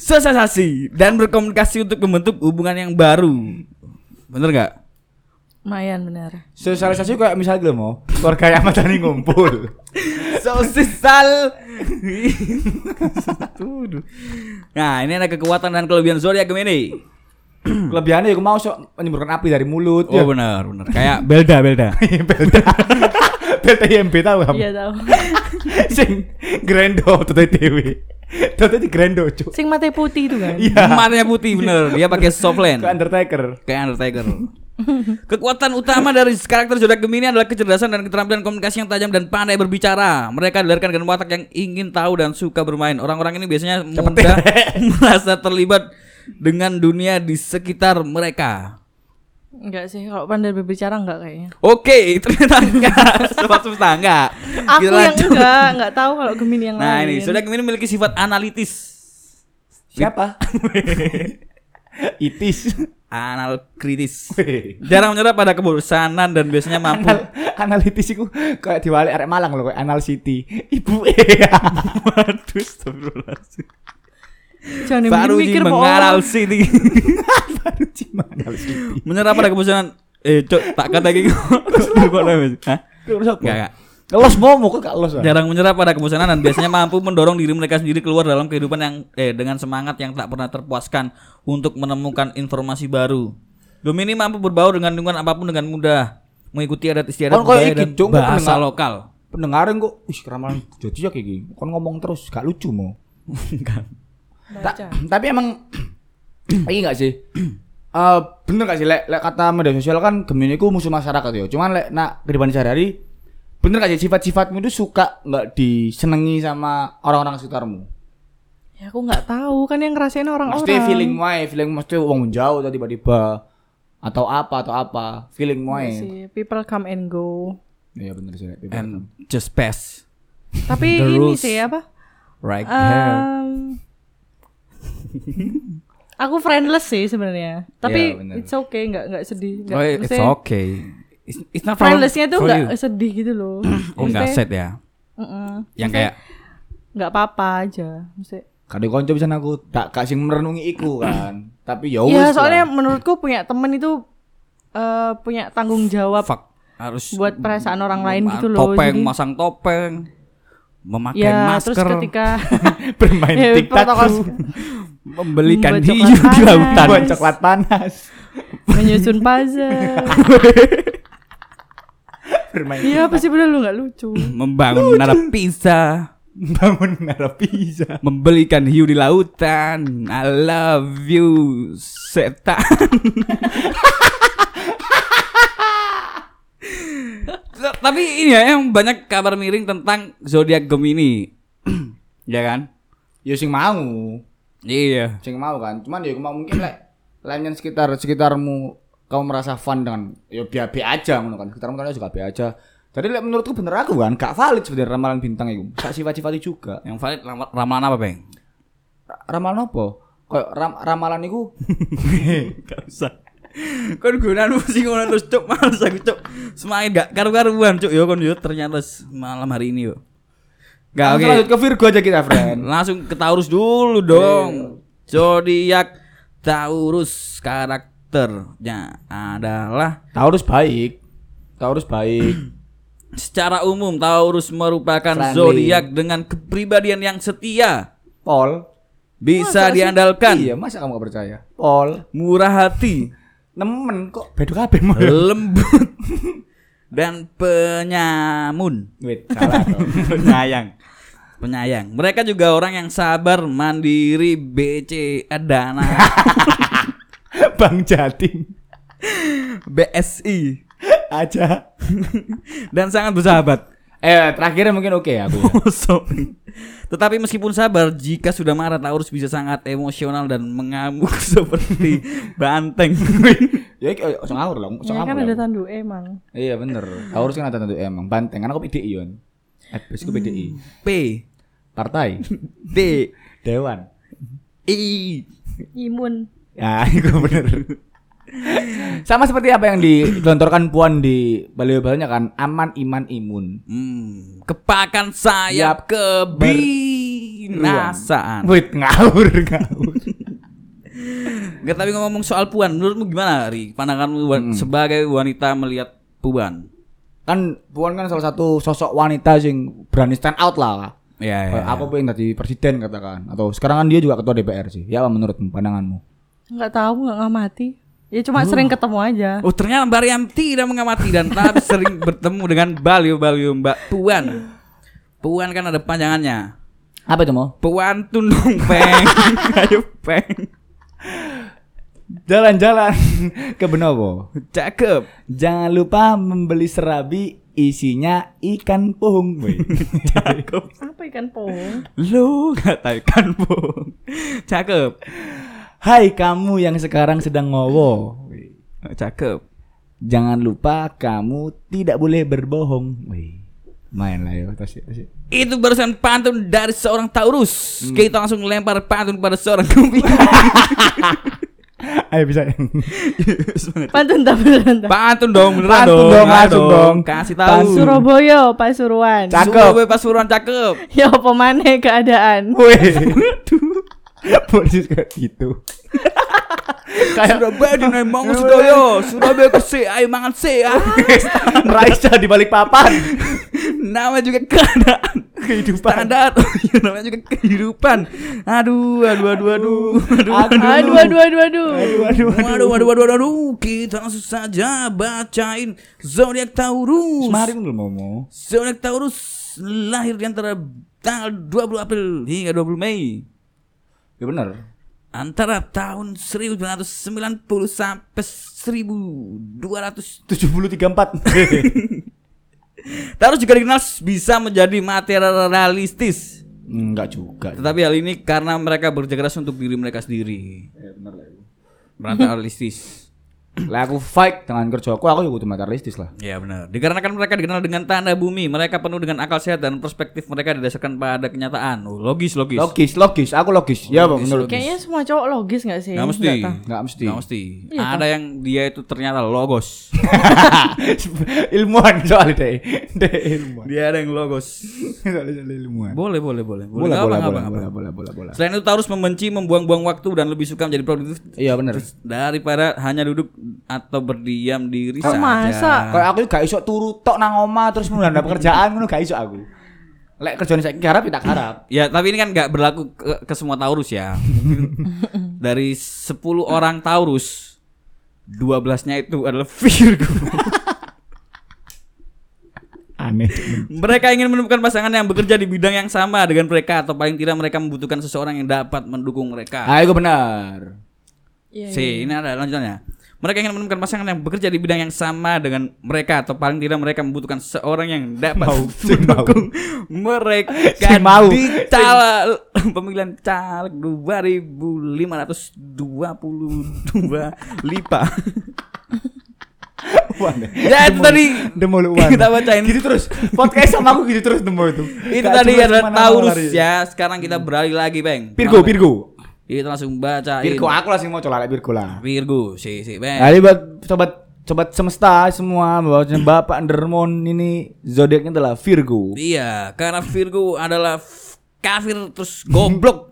Sosialisasi dan berkomunikasi untuk membentuk hubungan yang baru. Bener nggak?
Lumayan benar.
Sosialisasi kayak misalnya gue mau keluarga yang matani ngumpul.
Sosisal. nah, ini ada kekuatan dan kelebihan zodiak Gemini.
Kelebihannya ya gue mau sok menyemburkan api dari mulut. ya. Iya,
Oh, benar, benar. Kayak Belda, Belda.
Belta. Belta IMB tahu kamu.
Iya tahu.
sing grendo Toto Dewi Toto di grendo cuk
Sing mata putih itu kan.
iya
Matanya putih bener. Dia
ke
pakai softland.
Undertaker
Kayak Undertaker. Kekuatan utama dari karakter zodiak Gemini adalah kecerdasan dan keterampilan komunikasi yang tajam dan pandai berbicara. Mereka dilahirkan dengan watak yang ingin tahu dan suka bermain. Orang-orang ini biasanya mudah merasa terlibat dengan dunia di sekitar mereka.
Enggak sih, kalau pandai berbicara enggak kayaknya.
Oke, ternyata enggak. Sobat semesta enggak.
Aku
Kita
yang
lanjut.
enggak, enggak tahu kalau Gemini yang
Nah,
lain.
ini sudah Gemini memiliki sifat analitis.
siapa itis
Anal kritis. Jarang menyerah pada kebosanan dan biasanya mampu.
Anal analitis iku kayak diwalik arek Malang lho kayak anal city ibu e
Waduh, astagfirullahaladzim.
Jangan
Baru
mikir
ini
Pak,
mengaral
orang.
sini.
baru cuma anal city
Menyerah pada kebosanan. Eh, cok, tak kata gitu. Lu kok nangis? Hah?
terus apa
Enggak, enggak.
los momo kok gak los
Jarang menyerah pada kebosanan dan biasanya mampu mendorong diri mereka sendiri keluar dalam kehidupan yang eh dengan semangat yang tak pernah terpuaskan untuk menemukan informasi baru. Gemini mampu berbaur dengan lingkungan apapun dengan mudah, mengikuti adat istiadat
Kon koyo
budaya
iki,
dan
Cung, kok
bahasa
pendengar.
lokal.
pendengarin kok wis keramalan jadi ya kayak gini kon ngomong terus gak lucu mo
Enggak.
Ta- tapi emang ini enggak sih? Eh, bener gak sih lek lek kata media sosial kan Gemini ku musuh masyarakat ya. Cuman lek nak kehidupan sehari-hari bener gak sih sifat-sifatmu itu suka nggak disenengi sama orang-orang sekitarmu?
Ya aku enggak tahu, kan yang ngerasain orang-orang. Iya
Mesti feeling wae, feeling mesti wong jauh tadi tiba-tiba atau apa atau apa, feeling
Iya
wae.
sih, people come and go.
Iya bener sih. lek.
And just pass.
Tapi
The
ini
rules.
sih apa?
Right
Eh,
there.
Um, aku friendless sih sebenarnya. Tapi
Iya, bener.
it's okay, enggak enggak sedih. Enggak,
Oh, it's
maksudnya
okay. It's, it's not for,
Friendlessnya tuh
for you.
enggak sedih gitu loh.
Oh, enggak
Maksudnya,
set ya.
mm-mm,
Yang kayak
Enggak apa-apa aja. Maksudnya
Kadang konco bisa aku tak kasih merenungi iku kan. Tapi ya
Oh,
wis.
Iya,
lah.
soalnya menurutku punya temen itu eh, punya tanggung jawab
fuck harus
buat perasaan orang
ma-
lain gitu loh.
Topeng,
Jadi,
masang topeng. Memakai
ya,
masker.
terus ketika
bermain
Iya,
Ya,
tiktok
protokol-
membelikan
Membuat
hijau
coklat
di lautan.
buat coklat panas.
menyusun puzzle,
bermain
iya pasti bener lu nggak lucu.
membangun menara Pisa,
bangun merah bisa
membelikan hiu di lautan. I love you setan. T- Tapi ini ya yang banyak kabar miring tentang zodiak Gemini. ya kan?
ya sing mau,
Iya.
sing mau kan. Cuman ya mau mungkin lek lainnya sekitar sekitarmu kamu merasa fun dengan ya biar aja ngono kan. Sekitarmu kan juga biar aja. Jadi lek menurutku bener aku kan gak valid sebenarnya ramalan bintang itu. Sak sifat-sifat itu juga.
Yang valid ram- ramalan apa, Bang?
Ra- Ramalan apa? Kayak ram- ramalan itu
Gak usah. Kon gunanmu sih ngono terus cuk males aku cuk. Semai gak karu-karuan cuk yo kon yo ternyata s- malam hari ini yo. Gak oke.
Langsung lanjut ke Virgo aja kita, friend.
Langsung ke Taurus dulu dong. Zodiak Taurus karakternya adalah
Taurus baik. Taurus baik.
secara umum Taurus merupakan
Friendly.
zodiak dengan kepribadian yang setia,
Pol.
bisa diandalkan,
Iya, masa kamu gak percaya? Pol.
murah hati,
Nemen kok bedo kabeh mau.
lembut dan penyamun.
Wait, salah. toh.
penyayang penyayang mereka juga orang yang sabar mandiri BC dana
Bang Jatim
BSI
aja.
dan sangat bersahabat
Eh, terakhirnya mungkin oke aku. ya.
Sorry. tetapi meskipun sabar jika sudah marah Taurus bisa sangat emosional dan mengamuk seperti banteng
Ya iki ojo ngawur lah, ojo
Ya
ngawur
kan
lah.
ada tanduk emang.
Iya bener. Taurus kan ada tentu emang banteng karena aku PDI yon. Eh, bos aku PDI.
Hmm.
P
Partai
D
Dewan.
I
Imun.
Ya, itu bener. Sama seperti apa yang digelontorkan Puan di baliho-balionya kan aman iman imun.
hmm, kepakan sayap kebinasaan
Wait, ngawur, ngawur.
Nggak tapi ngomong soal puan, menurutmu gimana Ri? Pandanganmu wa- sebagai wanita melihat puan?
kan Puan kan salah satu sosok wanita yang berani stand out lah.
Ya,
Eh.
Kayak Aku pengen jadi presiden katakan atau sekarang kan dia juga ketua DPR sih. Ya apa menurutmu pandanganmu?
Enggak tahu, enggak ngamati. Ya cuma sering ketemu aja.
Oh ternyata Mbak Riam tidak mengamati dan tak sering bertemu dengan baliu-baliu Mbak Puan. Puan kan ada panjangannya.
Apa itu mau?
Puan tunung peng, ayo peng,
Jalan-jalan ke Benowo.
cakep,
Jangan lupa membeli serabi isinya ikan pohong.
cakep.
Apa ikan pong?
Lu katakan bung, cakep,
Hai kamu yang sekarang sedang ngowo.
cakep.
Jangan lupa kamu tidak boleh berbohong. Wih. Main lah ya, tas ya, tas ya.
Itu barusan pantun dari seorang Taurus. Kita langsung lempar pantun pada seorang Gemini.
Ayo bisa.
Pantun tak beneran tak?
Pantun dong, beneran
Pantun dong,
dong. beneran
langsung dong.
Kasih tahu.
Pantun.
Surabaya, Pasuruan.
Cak- Cakep.
Surabaya Pasuruan cakep.
Ya apa maneh keadaan?
Wih. Polisi kayak gitu.
Surabaya di Nembang Surabaya. Surabaya ke C, ayo mangan C ah.
Raisa di balik papan.
Nama juga keadaan
Kehidupan.
standar. Iya, namanya juga kehidupan. Aduh, aduh, aduh, aduh. Aduh,
Aduh, aduh, aduh, aduh.
Waduh,
aduh, aduh, aduh, aduh, aduh. Kita langsung saja bacain zodiak Taurus.
Semarin belum mau.
Zodiak Taurus lahir di antara tanggal 20 April hingga 20 Mei.
Ya benar.
antara tahun 1990 sampai 1200
734.
Taurus juga dikenal bisa menjadi materialistis
Enggak juga.
tetapi hal ini karena mereka bekerja keras untuk diri mereka sendiri
Iya, benar lah itu.
materialistis
Lah aku fight dengan kerjaku, aku juga kudu materialistis lah.
ya benar dikarenakan mereka dikenal dengan tanda bumi mereka penuh dengan akal sehat dan perspektif mereka didasarkan pada kenyataan oh, logis logis
Logis, logis, aku logis. Ya, Bang, menurut.
Kayaknya semua cowok logis gak sih?
nggak mesti
Nggak tahu.
Enggak mesti.
nggak mesti Iya, ada yang dia itu ternyata logos
ilmuwan soalnya deh. Deh ilmuwan.
dia ada yang logos
Soalnya soalnya ilmuwan.
boleh boleh boleh boleh
Bola
Nggak
bola
apa, nggak
bola
apa, nggak apa.
bola bola bola bola.
Selain itu Taurus membenci membuang-buang waktu dan lebih suka menjadi produktif
Iya benar.
daripada hanya duduk atau berdiam diri
Oh,
saja.
masa?
ah.
Kayak aku gak iso turu tok nang oma terus mulai ada pekerjaan ngono gak iso aku. Lek kerjaan saya garap ya tak garap.
Ya, tapi ini kan nggak berlaku ke, ke semua Taurus ya. Dari 10 orang Taurus, 12-nya itu adalah Virgo.
Aneh.
mereka ingin menemukan pasangan yang bekerja di bidang yang sama dengan mereka atau paling tidak mereka membutuhkan seseorang yang dapat mendukung mereka.
Ah, itu benar.
Iya,
Si, ini ada lanjutannya. Mereka ingin menemukan pasangan yang bekerja di bidang yang sama dengan mereka atau paling tidak mereka membutuhkan seorang yang dapat
Mau, sing mau.
mendukung mereka
Sing mau.
di cal- pemilihan caleg 2522 lipa.
Wah, deh.
Ya, itu
Nemu-
tadi.
nemu lu, wah.
Kita bacain.
gitu terus. Podcast sama aku gitu terus nemu itu.
Itu
Gak
tadi
jelas
adalah
kemana
Taurus
lari.
ya. Sekarang kita beralih lagi, Bang.
Virgo,
Apa?
Virgo.
Kita langsung bacain.
Virgo aku lah sih mau colak Virgo lah.
Virgo, si si Bang.
Jadi buat sobat sobat semesta semua bahwa Bapak Undermon ini zodiaknya adalah Virgo.
Iya, karena Virgo adalah f- kafir terus goblok.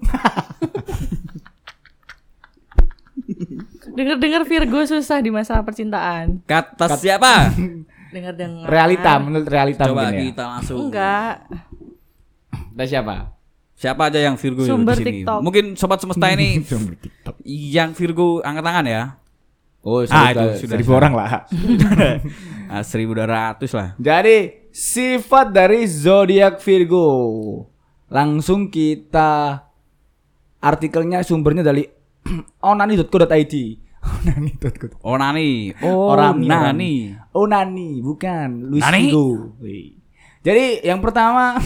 Dengar-dengar Virgo susah di masalah percintaan.
Kata siapa?
Dengar-dengar.
Realita menurut realita
Coba
mungkin ya.
kita langsung.
Enggak.
Kita siapa?
Siapa aja yang Virgo ya
Sumber
di sini?
TikTok.
Mungkin sobat semesta ini
Sumber TikTok.
yang Virgo angkat tangan ya.
Oh,
Ah,
seribu-
itu sudah.
seribu orang lah.
Ah, 1200 lah.
Jadi sifat dari zodiak Virgo. Langsung kita artikelnya sumbernya dari onani.co.id. Onani.co.
Onani.
Orami,
Oh, Onani.
Oh, iya. Onani bukan Luis
Nani?
Virgo. Wih. Jadi yang pertama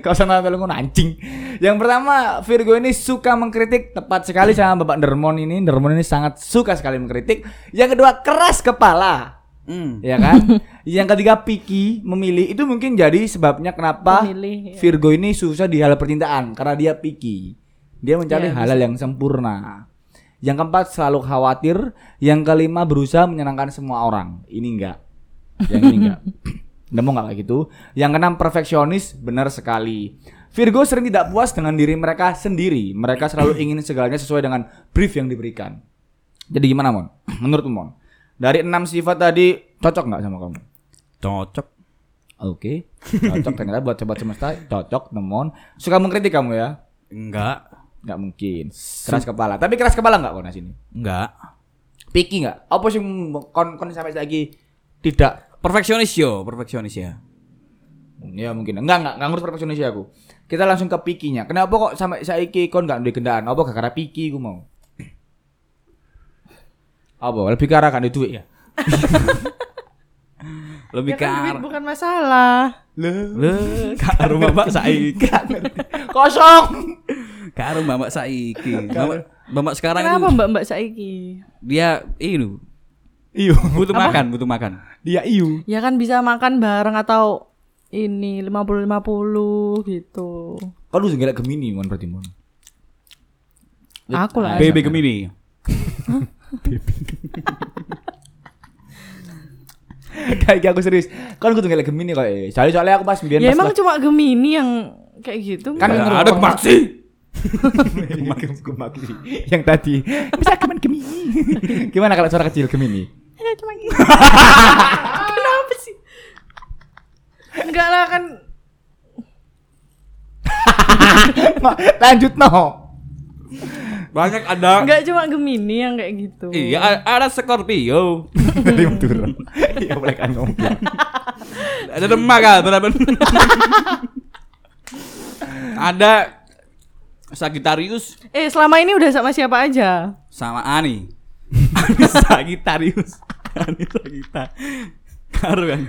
Kau sana tolong ngono, anjing. Yang pertama Virgo ini suka mengkritik tepat sekali sama Bapak Dermon ini. Dermon ini sangat suka sekali mengkritik. Yang kedua keras kepala
Hmm.
ya kan? yang ketiga picky memilih itu mungkin jadi sebabnya kenapa
Memilih, ya.
Virgo ini susah di hal percintaan karena dia picky. Dia mencari
Ya,
halal yang sempurna. Yang keempat selalu khawatir, yang kelima berusaha menyenangkan semua orang. Ini enggak. Yang ini enggak. Nggak mau nggak kayak gitu. Yang keenam perfeksionis benar sekali. Virgo sering tidak puas dengan diri mereka sendiri. Mereka selalu ingin segalanya sesuai dengan brief yang diberikan. Jadi gimana Mon? Menurut Mon? Dari enam sifat tadi cocok nggak sama kamu?
Cocok.
Oke, cocok ternyata buat sobat semesta cocok Mon. Suka mengkritik kamu ya?
Enggak.
Nggak mungkin. Keras kepala. Tapi keras kepala nggak kau sini?
Enggak.
Picky nggak? Apa sih kon kon sampai lagi tidak
Perfeksionis yo, perfeksionis ya.
Ya mungkin enggak enggak enggak ngurus perfeksionis ya aku. Kita langsung ke pikinya. Kenapa kok sampai saiki kon enggak duwe gendaan? Apa gak karena piki ku mau? Apa lebih ke arah kan duit ya?
Lebih
Ya
ke
kan duit
arah-
bukan masalah.
Le, kak rumah Mbak Saiki.
Kosong.
Kak rumah Mbak Saiki. Mbak, Mbak sekarang
Kenapa
itu
Mbak-mbak saiki?
dia ini
Iyo.
butuh makan, butuh makan.
Dia iyo.
Ya kan bisa makan bareng atau ini 50-50 gitu.
Kau lu ngelak Gemini mon berarti mon.
Aku lah.
BB Gemini.
Kayak aku serius. Kan kudu ngelak Gemini kok. eh. Soalnya soalnya aku pas mbiyen
Ya
pas
emang
kelas-
cuma Gemini yang kayak gitu.
Kan
Nggak
yang
ada
ngerokok.
kemaksi.
Gem- gemak sih. Yang tadi. Bisa kemen Gemini. Gimana kalau suara kecil Gemini?
Ya, cuma gitu. Kenapa sih? Enggak lah kan
Ma, Lanjut no.
Banyak ada.
enggak cuma Gemini yang kayak gitu.
Oh. Iya, a- ada Scorpio.
dari Madura. Iya boleh kan ngomong.
Ada kan, Demak, ada Brabant. Ada Sagittarius
Eh, selama ini udah sama siapa aja?
sama Ani. Ani Sagittarius. Ani Sagittarius. Karo kan.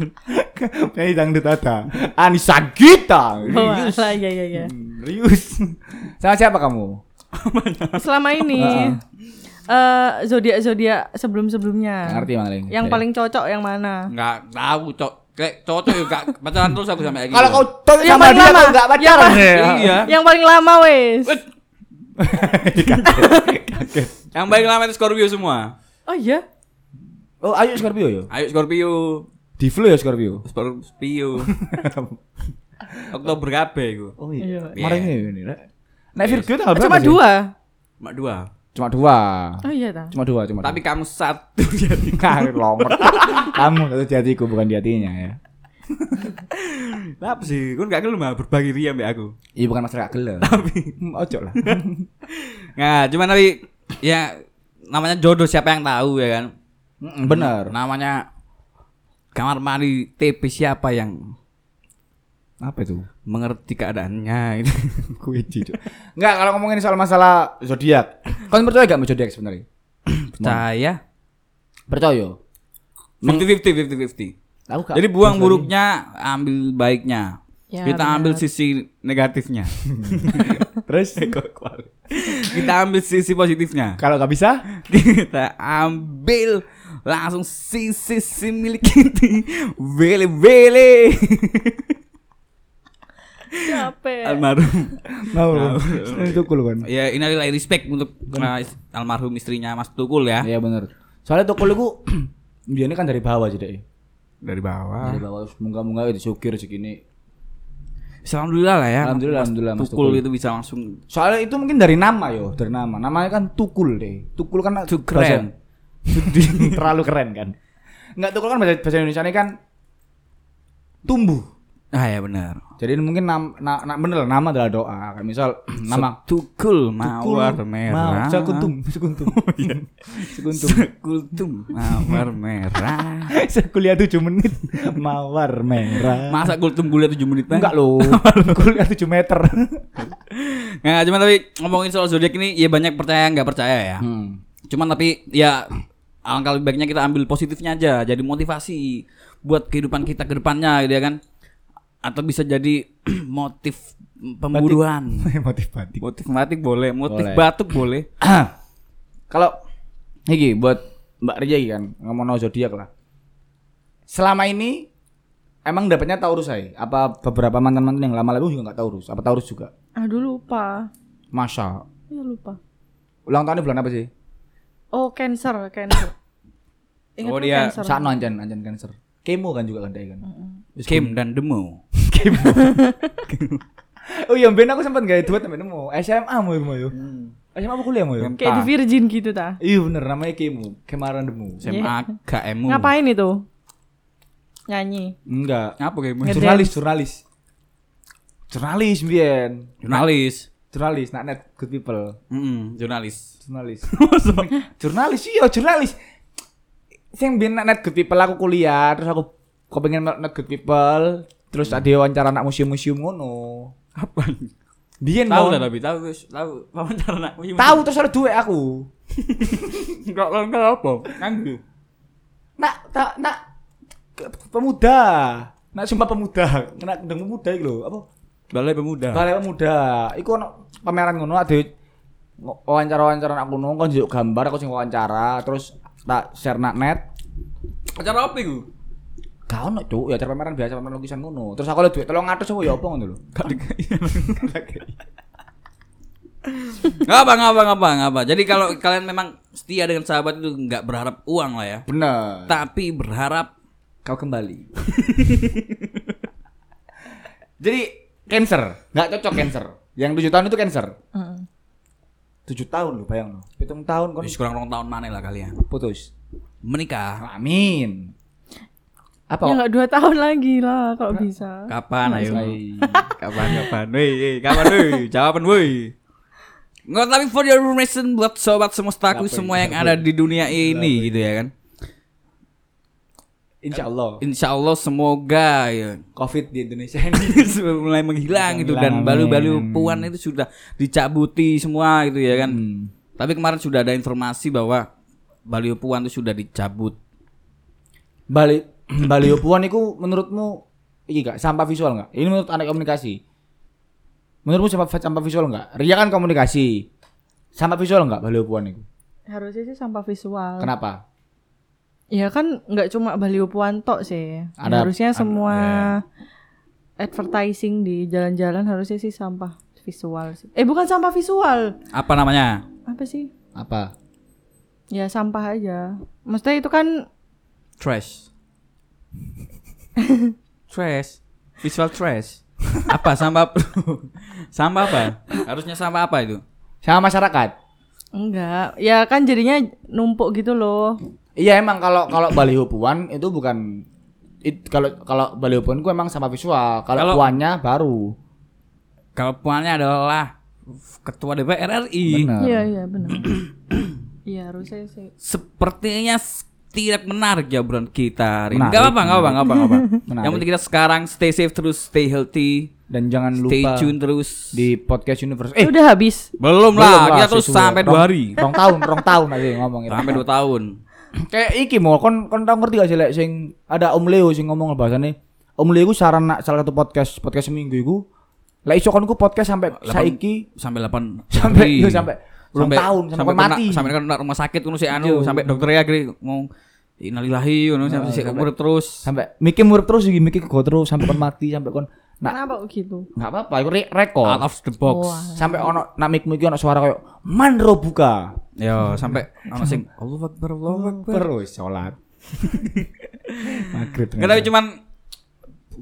Nyanyi dangdut ada. Anissa Gita.
Iya.
Oh, alah, ya ya ya.
Rius. Sama siapa kamu?
Selama ini eh
Ah.
zodiak-zodiak sebelum-sebelumnya.
Ngerti paling.
Yang
Iya.
paling cocok yang mana?
Enggak tahu, Cok. Kayak cocok ya, Kak. Pacaran terus aku sampai gitu. lagi.
Kalau kau tuh
Yang
sama
paling
dia
lama.
kau enggak pacaran.
Iya.
Yang paling lama wes.
Yang baik lama itu Scorpio semua.
Oh iya.
Oh, ayo Scorpio yo.
Ayo Scorpio.
Di flu ya Scorpio.
Scorpio. Oktober kabeh iku.
Oh iya.
Iya.
Marahnya ini. Rek. Nek Virgo tanggal
Ah,
berapa
Cuma
sih?
dua.
Mak dua.
Cuma dua.
Oh iya ta.
Cuma dua, cuma.
Tapi kamu satu jadi.
kan lomer. Kamu satu di hatiku bukan di hatinya ya.
Apa sih? Kau nggak gelem ah, berbagi ria mbak aku.
Iya bukan masalah gelem. Tapi ojo lah.
Nah, cuman tapi ya namanya jodoh siapa yang tahu ya kan?
Mm, Bener.
Nah. Namanya kamar mandi TP siapa yang
Apa itu?
mengerti keadaannya gitu.
Kuici cuk. Enggak kalau ngomongin soal masalah zodiak. Kalian percaya gak sama zodiak sebenarnya?
Percaya?
Percaya.
50-50, 50-50.
Tahu gak?
Jadi buang buruknya, ambil baiknya.
Ya,
kita ambil sisi negatifnya.
terus
kita ambil sisi positifnya.
kalau nggak bisa,
Kita ambil langsung sisi sisi milik kita. Wele wele.
Eh.
Capek.
Almarhum.
mau itu cool kan.
Ya inilah respect untuk uh, is- almarhum istrinya Mas Tukul ya.
Iya benar. Soalnya toko lu dia ini kan dari bawah aja deh.
Dari bawah.
Dari bawah semoga-moga itu syukur segini.
Alhamdulillah lah ya.
Alhamdulillah,
Mas
alhamdulillah, Mas
Tukul
Tukul.
itu bisa langsung
Soalnya itu mungkin dari nama yo, dari nama. Namanya kan Tukul deh. Tukul kan
Tuh, keren.
bahasa- terlalu keren kan. Enggak Tukul kan bahasa, bahasa Indonesia kan tumbuh.
Ah ya benar.
Jadi mungkin nam, na, na- bener lah, nama adalah doa. Kayak misal nama
Tukul mawar merah.
Mau, sekuntum, sekuntum. sekuntum.
Sekultum mawar merah.
Kuliah 7 menit mawar merah.
Masa kultum kuliah 7 menit Bang?
Enggak loh. Kuliah 7 meter.
Nah, cuman tapi ngomongin soal zodiak ini ya banyak percaya nggak percaya ya.
Hmm.
Cuman tapi ya alangkah lebih baiknya kita ambil positifnya aja jadi motivasi buat kehidupan kita ke depannya gitu ya kan. Atau bisa jadi motif pemburuan.
Motif batik.
Motif matik boleh, motif
Boleh.
batuk boleh.
Kalau iki buat Mbak Ria iki kan ngomong no zodiak lah. Selama ini emang dapatnya Taurus aja. Apa beberapa mantan-mantan yang lama-lama juga nggak Taurus? Apa Taurus juga?
Aduh lupa.
Masa
Ya lupa.
ulang tahunnya bulan apa sih?
Oh, cancer,
Oh,
cancer. Ingatku
kan
dia
cancer.
Sakno anjan, anjan Cancer. Kemo kan juga kan dia kan.
Kim dan Demo.
Oh iya, Ben aku sempat gak duet sampe nemu. SMA mau mau yo.
Hmm.
SMA apa kuliah mau yo?
Mem-
Kayak di
Ah.
virgin gitu ta.
Iya bener namanya Kemo, Kemaran Demu.
SMA KMU.
Ngapain itu? Nyanyi.
Enggak.
Ngapa KMU?
Ngedance.
Jurnalis, jurnalis. Jurnalis, Bien.
Jurnalis.
Jurnalis, nak net good people.
Mm-mm, jurnalis.
jurnalis
Oh,
jurnalis iya jurnalis sing bin net good people aku kuliah terus aku kepengen mel- net good people terus
Hmm.
ada wawancara anak museum-museum ngono
Apa?
biyen
Tahu
Mon.
lah tapi tahu wis tahu wawancara nak.
tahu terus ada duit aku
Enggak kan apa? Nganggu.
nak tak nak ke- pemuda nak sumpah pemuda nak kendang pemuda iku lho apa
Balai pemuda.
balai pemuda iku ono pameran ngono ada wawancara-wawancara anak ngono kon njuk gambar aku sing wawancara terus tak share nak net
Acara apa iku?
Gak ono cuk, ya acara pameran biasa pameran lukisan ngono. Terus aku oleh duit 300 apa ya apa ngono lho.
Gak dikai. Ngapa ngapa ngapa ngapa. Jadi kalau kalian memang setia dengan sahabat itu nggak berharap uang lah ya.
Bener.
Tapi berharap
Kau kembali. Jadi cancer, nggak cocok cancer. Yang 7 tahun itu cancer.
Heeh.
7 tahun lho bayang lho. 7 tahun kon
Wis kurang rong tahun mana lah kalian
putus.
menikah
Amin. Apa?
Ya enggak dua tahun lagi lah kalau bisa.
kapan ayo
Ay.
kapan kapan woi woi, kapan woi jawaban woi nggak tapi for your information buat sobat semestaku semua yang ada di dunia ini gitu ya kan
Insya Allah
Insya Allah semoga ya
Covid di Indonesia ini
mulai menghilang gitu
Menghilang,
dan balu-balu puan itu sudah dicabuti semua gitu ya kan.
Hmm.
Tapi kemarin sudah ada informasi bahwa balu puan itu sudah dicabut.
Bali Bali Opuan itu menurutmu iki gak sampah visual nggak? Ini menurut anak komunikasi. Menurutmu sampah sampah visual nggak? Ria kan komunikasi. Sampah visual nggak Bali Opuan itu?
Harusnya sih sampah visual.
Kenapa?
Ya kan nggak cuma Baliopuan tok sih.
Ada-
harusnya semua advertising di jalan-jalan harusnya sih sampah visual sih. Eh bukan sampah visual.
Apa namanya?
Apa sih?
Apa?
Ya sampah aja. Maksudnya itu kan
Trash. trash. Visual trash. apa sampah? sampah apa? Harusnya sampah apa itu?
Sama masyarakat.
enggak. Ya kan jadinya numpuk gitu loh.
Iya emang kalau kalau Bali Opuan itu bukan it- kalau kalau Bali Opuan itu emang sampah visual. Kalau
Kalau-
puannya baru.
Kalau puannya adalah ketua DPR RI.
Benar.
Iya iya benar. Iya harusnya sih.
sepertinya s- tidak menarik jawaban kita hari ini.
Menarik,
Gak apa-apa, gak apa-apa, gak apa-apa. gak apa-apa.
Menarik.
Yang penting kita sekarang stay safe terus, stay healthy,
Dan jangan
stay
lupa
tune terus.
di podcast universe.
Eh,
Eh,
udah habis.
belum,
belum
lah, kita terus
sesuai.
sampai dua
Rong-
hari,
Rong tahun, rong tahun aja ngomongin.
sampai dua tahun.
kayak iki mau kon kon tau ngerti gak sih lek sing ada Om Leo sing ngomong bahasane Om Leo iku saran nak salah satu podcast podcast seminggu iku lek iso kon ku podcast sampai saiki
sampai 8
sampai yo sampai belum tahun sampai, kon mati. Iya.
sampai kena rumah sakit kuno si anu sampai dokternya akhirnya ngomong innalillahi ngono sampai si umur terus
sampai mikir murid terus iki mikir kok terus sampai kon mati sampai kon nak
Kenapa kok gitu?
nggak apa-apa iku re- rekor
out of the box.
Wah.
sampai ono nak mikmu iki ono suara koyo manro buka
Yo Iya, sampai ana sing Allahu Akbar Allahu Akbar.
terus sholat maghrib
Nggak, tapi cuman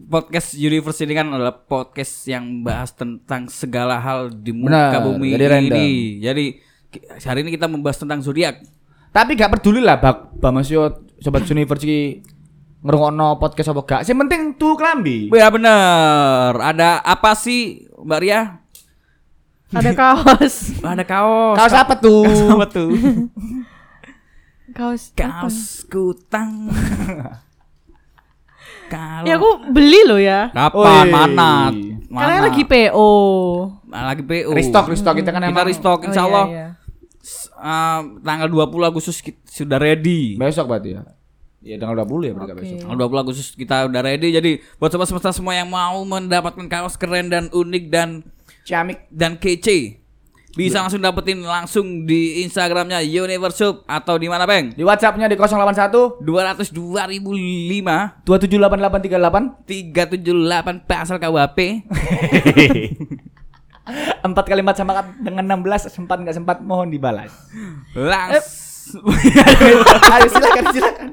podcast universe ini kan adalah podcast yang bahas tentang segala hal di muka
Benar,
bumi
jadi random.
ini. Jadi ki- hari ini kita membahas tentang zodiak.
Tapi gak peduli lah bak Mbak Mas Yo sobat Universe iki ngrungokno podcast apa gak. Sing penting tuh klambi.
Ya bener. Ada apa sih Mbak Ria?
Ada kaos.
Ada kaos.
Kaos apa tuh?
apa tuh?
Kaos.
kaos kutang. Kalau
Ya aku beli loh ya.
kapan
Oi.
mana? mana?
Karena lagi PO.
lagi PU.
Restock, restock Oh. kita kan
Kita
emang
restock
Oh,
insya
iya,
Allah
iya.
s- uh, tanggal 20 Agustus kita sudah ready.
besok berarti ya. Ya tanggal 20 ya berarti gak besok.
Tanggal 20 Agustus kita udah ready. Jadi buat sobat semesta semua yang mau mendapatkan kaos keren dan unik dan
Ciamik.
dan kece bisa langsung dapetin langsung di Instagramnya Universup atau di mana Bang?
Di WhatsApp-nya di 081
202005
278838
378 pasal KWP.
4 kalimat sama kan dengan 16 sempat nggak sempat mohon dibalas.
Langsung.
Ayo silakan silakan.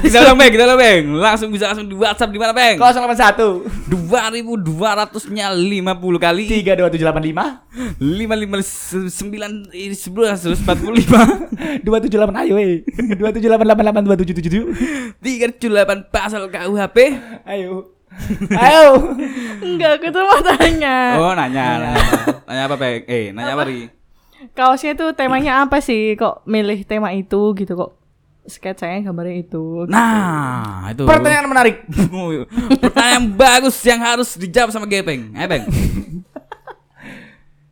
bisa dong Bang, bisa dong Bang. Langsung bisa langsung di WhatsApp di mana Bang?
081
2200-nya 50 kali
32785
559 ini 11 145
278 ayo eh 278882777
378 pasal KUHP.
ayo ayo
Enggak, aku tuh mau tanya.
Oh, nanya. Nanya, nanya apa, Bang? Eh, nanya apa, Ri?
Kaosnya tuh temanya apa sih? Kok milih tema itu gitu kok? Sketsanya gambarnya itu.
Nah, itu.
pertanyaan menarik
Pertanyaan bagus yang harus dijawab sama Gepeng. Eh, Ayo, Bang.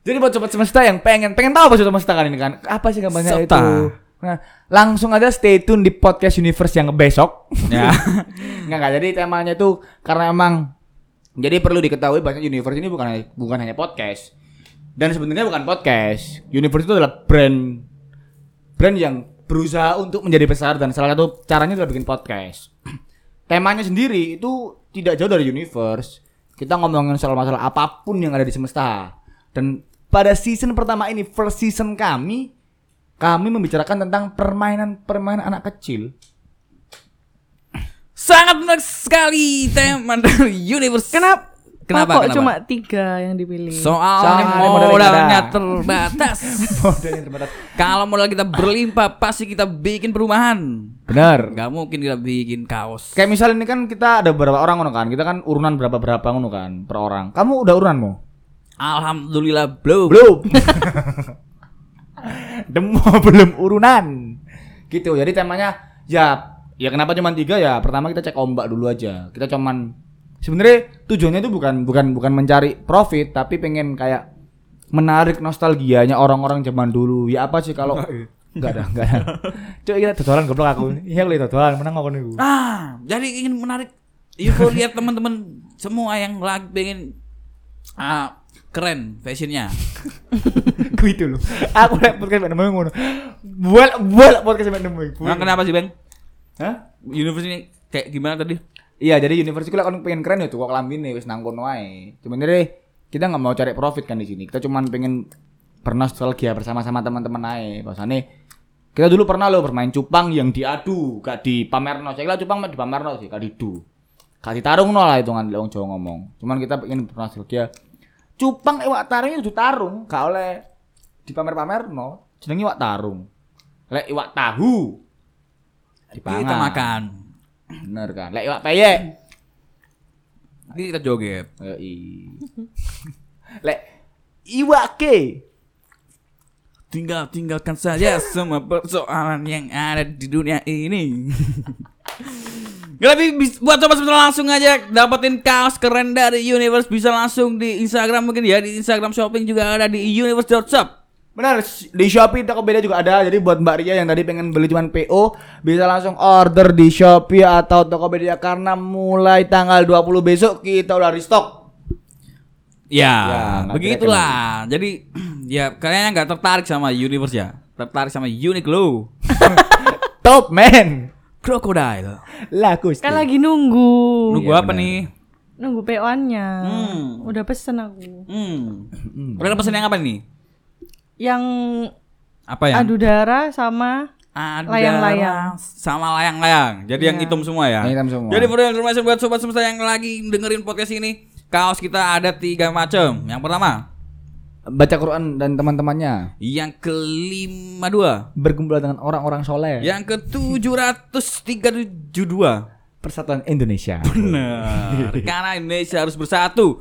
Jadi buat sobat semesta yang pengen pengen tahu apa sobat semesta kali ini kan apa sih gambarnya
Serta.
itu? Nah, langsung aja stay tune di podcast universe yang besok.
Ya.
Nggak nggak. Jadi temanya itu karena emang jadi perlu diketahui bahwa universe ini bukan bukan hanya podcast dan sebenarnya bukan podcast. Universe itu adalah brand brand yang berusaha untuk menjadi besar dan salah satu caranya adalah bikin podcast. Temanya sendiri itu tidak jauh dari universe. Kita ngomongin soal masalah apapun yang ada di semesta. Dan pada season pertama ini, first season kami, kami membicarakan tentang permainan-permainan anak kecil.
Sangat menarik sekali tema dari universe.
Kenapa?
Kenapa?
Kok
kenapa?
cuma tiga yang dipilih?
Soalnya
Soalnya modalnya
modalnya
ada.
terbatas.
Modalnya terbatas.
Kalau modal kita berlimpah, pasti kita bikin perumahan.
Benar.
Gak mungkin kita bikin kaos.
Kayak misalnya ini kan kita ada berapa orang ngono kan? Kita kan urunan berapa-berapa ngono kan per orang. Kamu udah urunanmu?
Alhamdulillah belum.
Belum. Demo belum urunan. Gitu. Jadi temanya ya ya kenapa cuma tiga ya? Pertama kita cek ombak dulu aja. Kita cuman sebenarnya tujuannya itu bukan bukan bukan mencari profit tapi pengen kayak menarik nostalgianya orang-orang zaman dulu. Ya apa sih kalau Enggak ada, enggak ada. Cuk, kita dodolan goblok aku. Iya, aku dodolan, menang aku niku.
Ah, jadi ingin menarik euforia teman-teman semua yang lagi pengen ah, keren fashionnya.
Gue itu loh. Aku liat podcast mbak nemu ngono. Buat buat podcast mbak nemu.
Nah, kenapa sih bang?
Hah?
Universe ini kayak gimana tadi?
Iya, jadi university kuliah kan pengen keren ya tuh kok lambine wis nang kono ae. Sebenarnya kita nggak mau cari profit kan di sini. Kita cuman pengen bernostalgia bersama-sama teman-teman ae. Bahasane kita dulu pernah loh bermain cupang yang diadu, gak di pamerno. Saya kira cupang mah di pamerno sih, gak diadu. Gak ditarung no lah hitungan lek wong Jawa ngomong. Cuman kita pengen bernostalgia. Cupang iwak tarungnya kudu tarung, gak oleh di pamer-pamerno. Jenenge iwak tarung. Lek iwak tahu
Iya, Kita
dipangan.
makan.
Bener kan? Lek iwak peyek
Ini kita joget.
Yoi. Lek iwake.
Tinggal tinggalkan saja semua persoalan yang ada di dunia ini. Gak tapi bis- buat coba sebentar langsung aja dapetin kaos keren dari Universe bisa langsung di Instagram mungkin ya di Instagram shopping juga ada di universe.shop.
Benar, s- di Shopee toko beda juga ada. Jadi buat Mbak Ria yang tadi pengen beli cuman PO, bisa langsung order di Shopee atau Tokopedia karena mulai tanggal 20 besok kita udah restock.
Ya,
Ya, nggak
begitulah. Jadi ya kayaknya nggak tertarik sama universe ya. Tertarik sama Uniqlo,
Top man.
Crocodile.
Laku.
Kan lagi nunggu.
Iya,
Nunggu apa nih?
Nunggu PO-annya.
Hmm.
Udah pesen aku.
Hmm. Kalian pesen yang apa nih?
Yang
Apa yang?
adu darah sama
Ada
Layang-layang.
sama layang-layang. Jadi yang hitam semua ya.
Yang hitam semua.
Jadi for your information buat sobat semesta yang lagi dengerin podcast ini, kaos kita ada tiga macam. Yang pertama,
Baca Quran dan teman-temannya.
yang kelima dua,
Berkumpul dengan orang-orang soleh.
yang ke tujuh ratus tiga tujuh dua.
Persatuan Indonesia.
Benar. Karena Indonesia harus bersatu.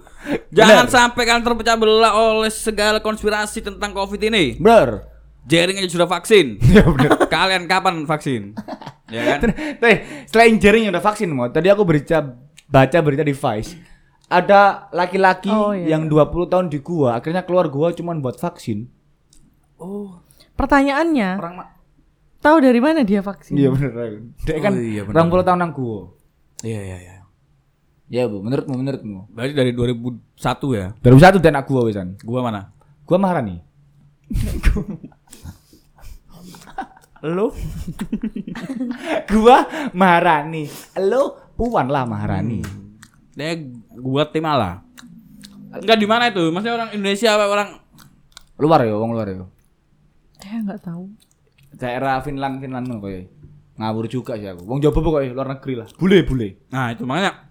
Jangan sampai kalian terpecah belah oleh segala konspirasi tentang COVID ini.
Bror.
Jering aja sudah vaksin.
Ya benar.
kalian kapan vaksin? ya kan?
Teh, selain jaring yang udah vaksin mau, tadi aku berita baca berita di Vice. Ada laki-laki
Oh, iya.
yang 20 tahun di gua, akhirnya keluar gua cuman buat vaksin.
pertanyaannya.
Orang mak.
Tahu dari mana dia vaksin?
Iya bener. Dia kan
Oh, iya, bener.
20 tahun nang gua.
Iya iya iya.
Ya, Bu, menurutmu menurutmu.
Berarti dari 2001 ya.
Dari satu dan aku gua wesan.
Gua mana?
Gua Maharani.
Lo?
gua Maharani. Lo Puan lah Maharani.
Hmm.
Ya gua Timala. Enggak di mana itu? Maksudnya orang Indonesia apa orang
Luar ya, wong luar ya.
Saya nggak Eh, tahu.
Daerah Finland Finland ngono koyo. Ngawur juga sih aku. Wong Jawa pokoknya luar negeri lah. Bule bule.
Nah, itu makanya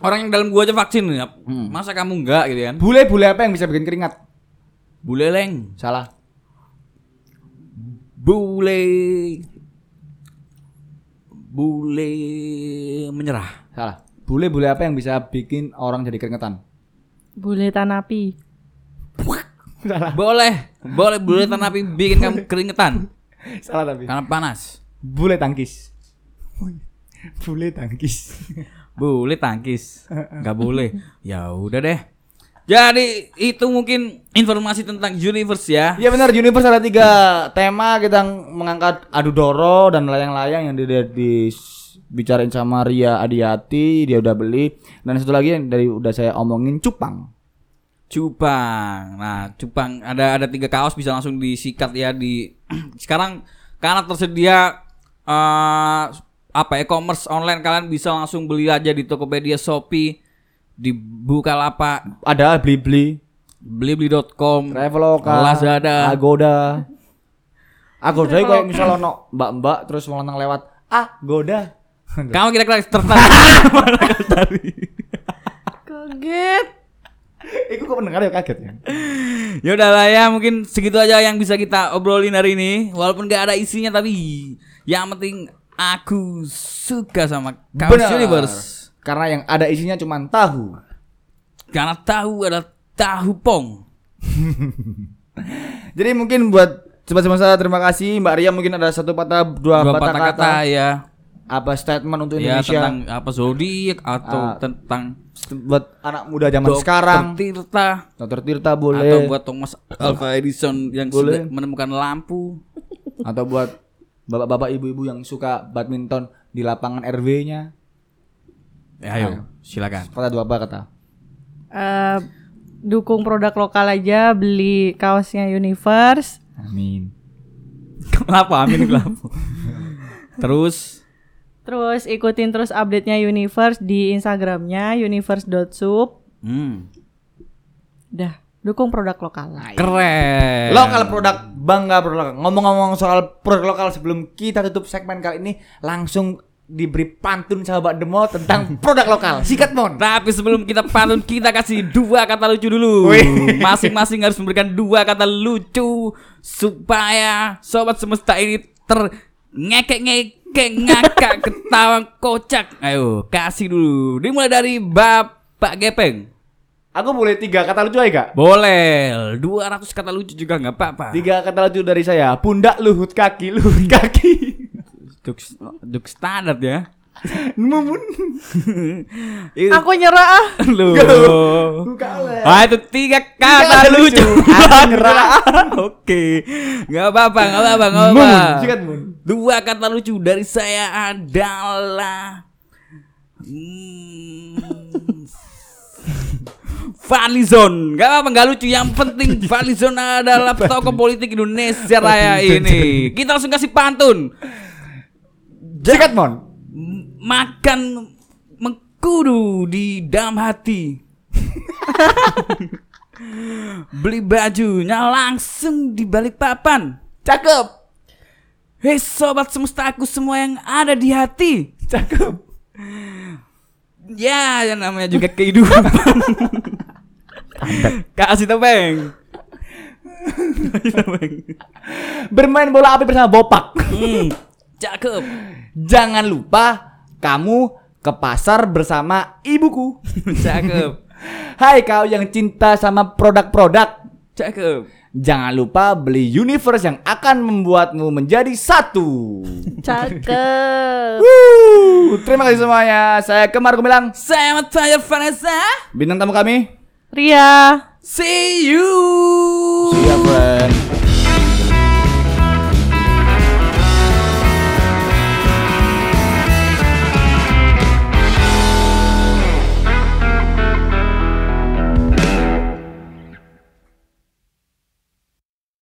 orang yang dalam gua aja vaksin ya. Masa kamu enggak gitu kan?
Bule bule apa yang bisa bikin keringat?
Buleleng.
Salah.
Bule Bule menyerah.
Salah. Bule-bule apa yang bisa bikin orang jadi keringetan?
Boleh tanapi.
Salah.
Boleh, boleh bule tapi bikin kamu keringetan
Salah tapi.
karena panas.
Bule tangkis. Bule tangkis.
Boleh tangkis. Enggak boleh. Ya udah deh. Jadi itu mungkin informasi tentang universe ya.
Iya benar, Universe ada tiga tema kita mengangkat adu doro dan layang-layang yang di, di- bicarain sama Ria Adiati, dia udah beli. Dan satu lagi yang dari udah saya omongin cupang.
Cupang. Nah, cupang ada ada tiga kaos bisa langsung disikat ya di sekarang karena tersedia eh apa e-commerce online kalian bisa langsung beli aja di Tokopedia, Shopee, di Bukalapak,
Ada Blibli,
blibli.com,
Traveloka,
Lazada.
Agoda. Agoda itu kalau misalnya ono mbak-mbak terus mau nang lewat Agoda.
Kamu kira-kira tertarik mana kaos tadi?
Kaget.
Iku kok pendengar ya kaget ya.
Ya udahlah ya, mungkin segitu aja yang bisa kita obrolin hari ini. Walaupun gak ada isinya tapi yang penting aku suka sama kaos
Benar.
Universe.
Karena yang ada isinya cuma tahu.
Karena tahu adalah tahu pong.
Jadi mungkin buat sobat semesta terima kasih Mbak Ria mungkin ada satu patah dua, patah,
Dua patah
kata,
kata ya.
apa statement untuk
Ya
Indonesia
tentang apa zodiak atau
Ah,
tentang
buat anak muda zaman
Dokter
sekarang.
Tirta
Dokter Tirta boleh
atau buat Thomas Alva Edison yang
Boleh.
sudah menemukan lampu.
atau buat bapak-bapak ibu-ibu yang suka badminton di lapangan RW-nya.
Ya, ayo, silakan.
Patah dua patah kata.
Eh, dukung produk lokal aja, beli kaosnya Universe.
Amin.
Kenapa? Amin kenapa? Terus
Terus ikutin terus update-nya Universe di Instagramnya universe.sup.
hmm,
Dah, dukung produk lokal.
keren.
Lokal produk bangga produk. lokal. Ngomong-ngomong soal produk lokal sebelum kita tutup segmen kali ini langsung diberi pantun sahabat demo tentang produk lokal. Sikat mon.
Tapi sebelum kita pantun kita kasih dua kata lucu dulu.
Wih.
Masing-masing harus memberikan dua kata lucu supaya sobat semesta ini ter ngekek ngekek ngakak ketawa kocak. Ayo kasih dulu. Dimulai dari Bapak Gepeng.
Aku boleh tiga kata lucu aja gak?
Boleh. 200 kata lucu juga nggak apa-apa.
Tiga kata lucu dari saya. Pundak, luhut, kaki, luhut, kaki.
Duk, duk standar ya.
Mumun.
Itu
Aku nyerah ah.
loh. Ah itu tiga kata
Tiga
lucu.
lucu.
banget. Oke. Enggak apa-apa, enggak apa-apa, enggak apa-apa.
Mun, sikat mun.
Dua kata lucu dari saya adalah hmm, Valizon, gak apa-apa gak lucu. Yang penting Valizon adalah tokoh politik Indonesia raya ini. Kita langsung kasih pantun.
Sikat mon.
M- makan mengkudu di dalam hati. Beli bajunya langsung di balik papan.
Cakep.
Hei sobat semestaku semua yang ada di hati.
Cakep.
Ya, yang namanya juga kehidupan. Kasih tebeng. Kasih tebeng.
Bermain bola api bersama Bopak.
Hmm, cakep.
Jangan lupa kamu ke pasar bersama ibuku.
Cakep.
Hai kau yang cinta sama produk-produk.
Cakep.
Jangan lupa beli universe yang akan membuatmu menjadi satu.
Cakep.
Wuh, terima kasih semuanya. Saya Kemar Gumilang,
Saya Ahmad Fajar Vanessa.
bintang tamu kami.
Ria.
See you.
ya. Siap, friend.